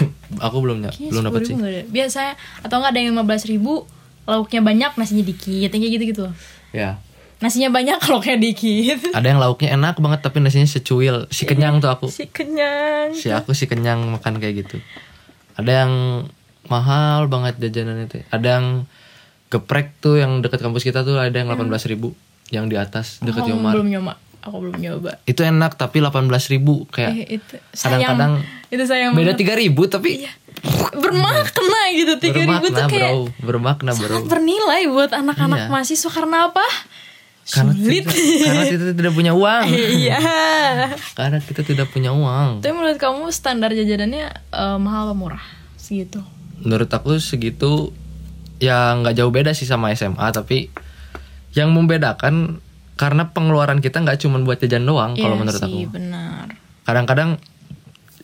Speaker 1: Iya,
Speaker 2: Aku belum ya, belum dapat sih.
Speaker 1: ribu ada biasanya atau nggak ada yang lima belas ribu lauknya banyak nasinya dikit yang kayak gitu gitu loh
Speaker 2: Ya,
Speaker 1: nasinya banyak lauknya dikit
Speaker 2: ada yang lauknya enak banget tapi nasinya secuil, si kenyang tuh aku.
Speaker 1: si kenyang
Speaker 2: Si aku si kenyang makan kayak gitu. Ada yang mahal banget jajanannya teh. Ada yang geprek tuh yang dekat kampus kita tuh ada yang 18.000 ribu yang di atas dekat
Speaker 1: aku
Speaker 2: Yomar.
Speaker 1: belum nyoba aku belum nyoba
Speaker 2: Itu enak tapi 18.000 ribu kayak
Speaker 1: Eh, itu sayang
Speaker 2: Ya. Kadang-kadang
Speaker 1: itu sayang
Speaker 2: beda
Speaker 1: banget.
Speaker 2: 3.000 ribu tapi
Speaker 1: bermakna gitu Iya, tiga ribu tuh
Speaker 2: bermakna
Speaker 1: kayak
Speaker 2: bro, bermakna bro.
Speaker 1: sangat bernilai buat anak-anak
Speaker 2: Iya.
Speaker 1: mahasiswa karena apa
Speaker 2: Karena
Speaker 1: sulit
Speaker 2: kita- karena kita tidak punya uang.
Speaker 1: iya
Speaker 2: Karena kita tidak punya uang.
Speaker 1: tapi menurut kamu standar jajanannya eh, mahal apa murah segitu
Speaker 2: Menurut aku segitu ya nggak jauh beda sih sama SMA tapi yang membedakan karena pengeluaran kita nggak cuma buat jajan doang kalau
Speaker 1: Iya
Speaker 2: menurut aku.
Speaker 1: sih, benar
Speaker 2: kadang-kadang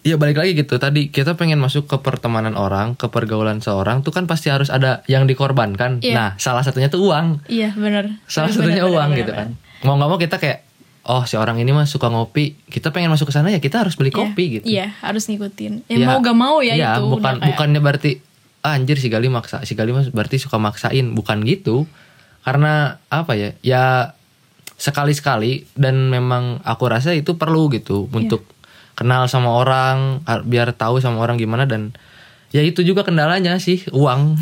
Speaker 2: ya balik lagi gitu tadi kita pengen masuk ke pertemanan orang ke pergaulan seorang tuh kan pasti harus ada yang dikorbankan
Speaker 1: Iya.
Speaker 2: nah salah satunya tuh uang
Speaker 1: iya benar
Speaker 2: salah
Speaker 1: Benar,
Speaker 2: satunya
Speaker 1: benar,
Speaker 2: uang
Speaker 1: benar,
Speaker 2: gitu
Speaker 1: benar.
Speaker 2: kan mau nggak mau kita kayak oh si orang ini mah suka ngopi kita pengen masuk ke sana ya kita harus beli kopi gitu
Speaker 1: Iya, harus ngikutin. Ya, mau gak mau ya,
Speaker 2: iya,
Speaker 1: itu.
Speaker 2: bukan
Speaker 1: udah kayak-
Speaker 2: bukannya berarti "Ah, anjir si Gali maksa si Gali mah berarti suka maksain bukan gitu karena apa ya ya sekali sekali dan memang aku rasa itu perlu gitu
Speaker 1: Iya.
Speaker 2: untuk kenal sama orang har- biar tahu sama orang gimana dan ya itu juga kendalanya sih uang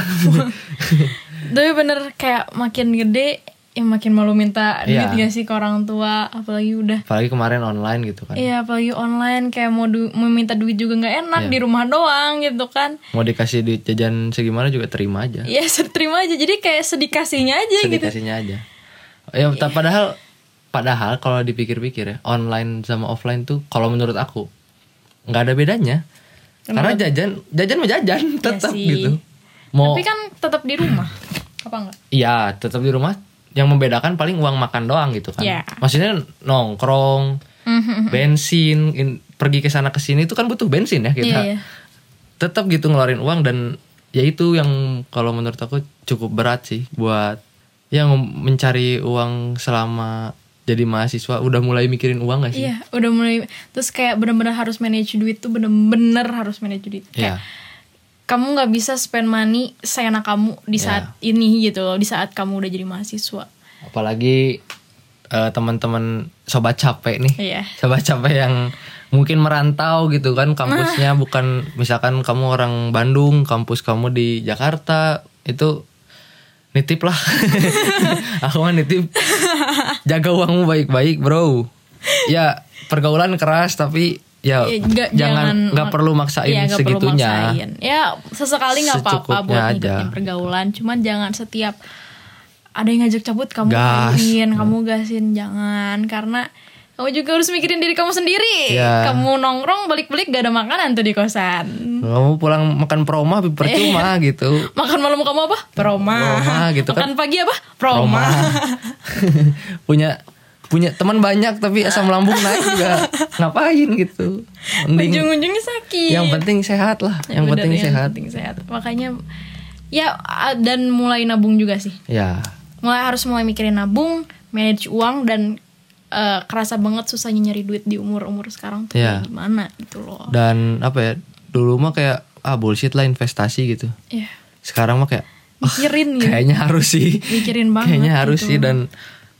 Speaker 1: Tapi bener kayak makin gede ya makin malu minta duit
Speaker 2: Iya.
Speaker 1: gak sih ke orang tua, apalagi udah
Speaker 2: apalagi kemarin online gitu kan
Speaker 1: Iya, apalagi online kayak mau du- mau minta duit juga nggak enak
Speaker 2: Ya.
Speaker 1: di rumah doang gitu kan.
Speaker 2: mau dikasih duit jajan segimana juga terima aja
Speaker 1: Ya terima aja. Jadi kayak sedikasinya aja gitu. Iya.
Speaker 2: Sedikasinya aja. Ya, ta- padahal padahal kalau dipikir-pikir ya, online sama offline tuh kalau menurut aku nggak ada bedanya. Karena jajan, jajan mah jajan
Speaker 1: Iya
Speaker 2: tetap
Speaker 1: sih.
Speaker 2: gitu. Mau
Speaker 1: Tapi kan tetap di rumah. Apa enggak?
Speaker 2: iya, tetap di rumah yang membedakan paling uang makan doang gitu kan.
Speaker 1: Iya. Mm-hmm.
Speaker 2: Maksudnya nongkrong, bensin, in- pergi ke sana ke sini itu kan butuh bensin ya kita.
Speaker 1: Iya, iya.
Speaker 2: Tetap gitu ngeluarin uang dan ya itu yang kalau menurut aku cukup berat sih buat yang mencari uang selama jadi mahasiswa udah mulai mikirin uang gak sih?
Speaker 1: Iya, udah mulai terus kayak bener-bener harus manage duit tuh bener-bener harus manage duit. Kayak
Speaker 2: Iya.
Speaker 1: kamu nggak bisa spend money
Speaker 2: Ya.
Speaker 1: seenak kamu di saat ini gitu loh di saat kamu udah jadi mahasiswa
Speaker 2: Apalagi eh, teman-teman sobat capek nih
Speaker 1: Iya.
Speaker 2: sobat capek yang mungkin merantau gitu kan kampusnya bukan misalkan kamu orang Bandung kampus kamu di Jakarta itu nitip lah aku mah nitip jaga uangmu baik-baik bro ya pergaulan keras tapi ya
Speaker 1: Ya, nggak-
Speaker 2: jangan nggak
Speaker 1: mak-
Speaker 2: perlu maksain
Speaker 1: Iya, nggak perlu
Speaker 2: segitunya
Speaker 1: maksain. ya sesekali nggak apa-apa
Speaker 2: Secukupnya
Speaker 1: buat
Speaker 2: aja.
Speaker 1: ngikutin pergaulan cuman jangan setiap ada yang ngajak cabut kamu
Speaker 2: Gas. Hmm.
Speaker 1: gasin kamu gasin jangan karena kamu juga harus mikirin diri kamu sendiri
Speaker 2: Iya.
Speaker 1: kamu nongkrong balik-balik gak ada makanan tuh di kosan
Speaker 2: kamu pulang makan proma tapi percuma
Speaker 1: Iya.
Speaker 2: gitu
Speaker 1: makan malam kamu apa proma
Speaker 2: Proma gitu kan.
Speaker 1: makan pagi apa proma,
Speaker 2: punya punya teman banyak tapi asam lambung naik juga ngapain gitu mending
Speaker 1: ujung-ujungnya sakit
Speaker 2: yang penting sehat lah
Speaker 1: Ya,
Speaker 2: yang
Speaker 1: bener,
Speaker 2: penting sehat
Speaker 1: penting sehat makanya ya a- dan mulai nabung juga sih
Speaker 2: ya
Speaker 1: mulai harus mulai mikirin nabung, manage uang dan eh, kerasa banget susahnya nyari duit di umur umur sekarang tuh
Speaker 2: Iya.
Speaker 1: kayak gimana gitu loh.
Speaker 2: dan apa ya dulu mah kayak ah bullshit lah investasi gitu
Speaker 1: Iya,
Speaker 2: sekarang mah kayak
Speaker 1: mikirin gitu,
Speaker 2: kayaknya harus sih
Speaker 1: mikirin banget.
Speaker 2: kayaknya harus
Speaker 1: gitu.
Speaker 2: sih dan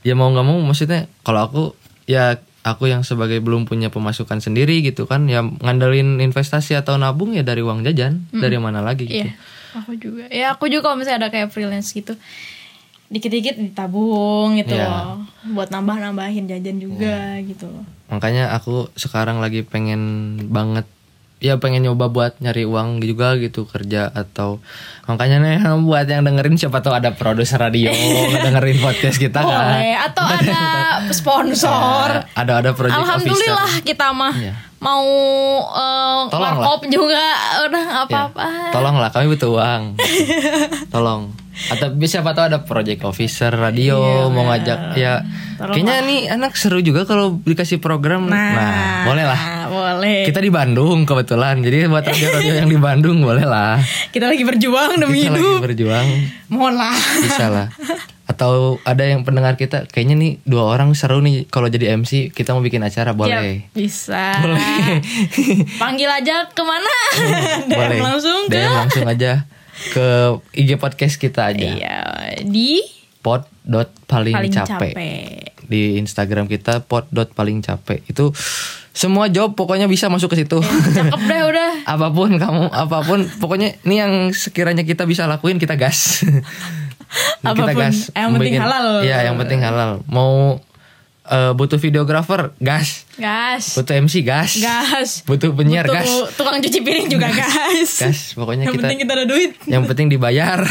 Speaker 2: ya mau nggak mau maksudnya kalau aku ya aku yang sebagai belum punya pemasukan sendiri gitu kan ya ngandelin investasi atau nabung ya dari uang jajan dari mana lagi gitu
Speaker 1: Iya, aku juga. Ya aku juga kalau misalnya ada kayak freelance gitu, dikit-dikit ditabung gitu
Speaker 2: Iya.
Speaker 1: loh, buat nambah-nambahin jajan juga gitu loh.
Speaker 2: makanya aku sekarang lagi pengen banget ya pengen nyoba buat nyari uang juga gitu kerja atau makanya nih buat yang dengerin siapa tahu ada produser radio dengerin podcast kita kan
Speaker 1: Boleh. Atau ada sponsor.
Speaker 2: Eh, ada ada project
Speaker 1: Alhamdulillah kita mah
Speaker 2: Iya.
Speaker 1: mau eh,
Speaker 2: Tolonglah.
Speaker 1: warkop juga udah nggak
Speaker 2: Ya,
Speaker 1: apa-apa.
Speaker 2: tolonglah kami butuh uang tolong atau bisa siapa tahu ada project officer
Speaker 1: Iya,
Speaker 2: radio mau ngajak ya kayaknya nih anak seru juga kalau dikasih program nah, boleh lah
Speaker 1: Nah, boleh.
Speaker 2: kita di Bandung kebetulan jadi buat radio radio yang di Bandung boleh lah
Speaker 1: Kita lagi berjuang demi
Speaker 2: kita lagi
Speaker 1: hidup.
Speaker 2: berjuang
Speaker 1: Mohon lah.
Speaker 2: bisa lah atau ada yang pendengar kita kayaknya nih dua orang seru nih kalau jadi MC kita mau bikin acara boleh
Speaker 1: Ya, bisa. Panggil aja kemana? DM
Speaker 2: boleh
Speaker 1: langsung ke.
Speaker 2: DM langsung aja ke IG podcast kita aja
Speaker 1: Iya, di
Speaker 2: pod dot paling,
Speaker 1: paling capek.
Speaker 2: capek. di Instagram kita pod dot paling capek itu semua job pokoknya bisa masuk ke situ
Speaker 1: Cakep deh udah.
Speaker 2: apapun kamu apapun pokoknya ini yang sekiranya kita bisa lakuin kita gas
Speaker 1: Apapun, yang penting
Speaker 2: Bikin-
Speaker 1: halal.
Speaker 2: iya yang penting halal mau eh, butuh videografer gas
Speaker 1: Gas.
Speaker 2: butuh MC gas
Speaker 1: Gas.
Speaker 2: butuh penyiar
Speaker 1: Butuh
Speaker 2: gas
Speaker 1: Tukang cuci piring juga gas.
Speaker 2: gas pokoknya
Speaker 1: Yang
Speaker 2: kita
Speaker 1: penting kita ada duit.
Speaker 2: yang penting dibayar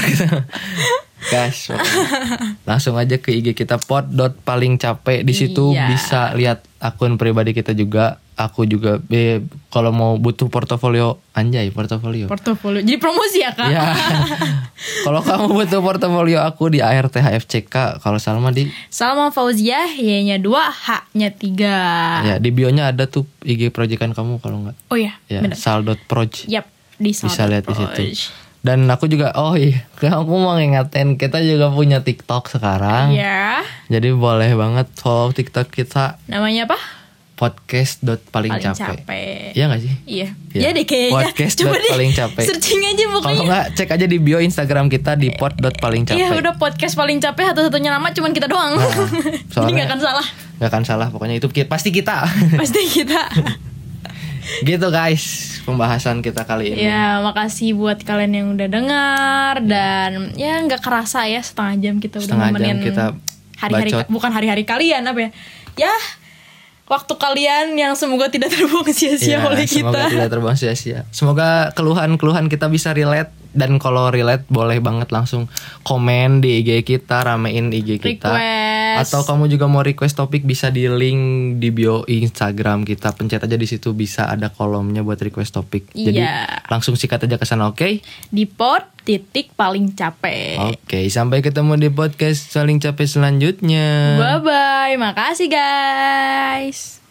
Speaker 2: gas pokoknya. langsung aja ke IG kita pod dot paling capek di situ
Speaker 1: Iya.
Speaker 2: bisa lihat akun pribadi kita juga aku juga eh, kalau mau butuh portofolio anjay portofolio
Speaker 1: Portofolio. Jadi promosi ya, Kak?
Speaker 2: ya kalau kamu butuh portofolio aku di ARTHFCK kalau Salma di
Speaker 1: Salma Fauziah, Y-nya 2, H-nya 3.
Speaker 2: ya di bio-nya ada tuh IG proyekan kamu kalau nggak
Speaker 1: Oh iya,
Speaker 2: ya
Speaker 1: benar.
Speaker 2: sal.proj
Speaker 1: Yap, di Salma
Speaker 2: bisa lihat di
Speaker 1: Proj.
Speaker 2: situ dan aku juga oh iya aku mau ngingetin kita juga punya TikTok sekarang
Speaker 1: Ya,
Speaker 2: Jadi boleh banget follow TikTok kita
Speaker 1: namanya apa?
Speaker 2: podcast dot paling
Speaker 1: Paling
Speaker 2: capek.
Speaker 1: capek.
Speaker 2: Iya gak sih?
Speaker 1: Iya.
Speaker 2: Iya.
Speaker 1: Ya deh kayaknya.
Speaker 2: Podcast dot
Speaker 1: deh
Speaker 2: paling capek.
Speaker 1: Searching aja
Speaker 2: Kalau
Speaker 1: pokoknya.
Speaker 2: nggak cek aja di bio Instagram kita di pod dot paling capek.
Speaker 1: Iya
Speaker 2: Nah,
Speaker 1: udah podcast paling capek satu-satunya nama cuman kita doang. Jadi nggak
Speaker 2: soalnya-
Speaker 1: akan salah.
Speaker 2: Nggak akan salah pokoknya itu ki- pasti kita.
Speaker 1: Pasti kita.
Speaker 2: gitu guys pembahasan kita kali ini.
Speaker 1: ya makasih buat kalian yang udah dengar dan ya nggak kerasa ya setengah jam kita udah
Speaker 2: Setengah jam
Speaker 1: nemenin
Speaker 2: kita
Speaker 1: hari-hari
Speaker 2: bacot.
Speaker 1: bukan hari-hari kalian apa ya? Ya waktu kalian yang semoga tidak terbuang sia-sia
Speaker 2: Iya,
Speaker 1: oleh
Speaker 2: Semoga
Speaker 1: kita.
Speaker 2: tidak terbuang sia-sia. Semoga keluhan-keluhan kita bisa relate dan kalau relate boleh banget langsung komen di IG kita, ramein IG kita.
Speaker 1: Request.
Speaker 2: Atau kamu juga mau request topik bisa di link di bio Instagram kita. Pencet aja di situ bisa ada kolomnya buat request topik. Jadi
Speaker 1: Iya.
Speaker 2: langsung sikat aja ke sana, oke?
Speaker 1: Di pot titik paling capek.
Speaker 2: Oke, sampai ketemu di podcast saling capek selanjutnya.
Speaker 1: Bye bye, makasih guys.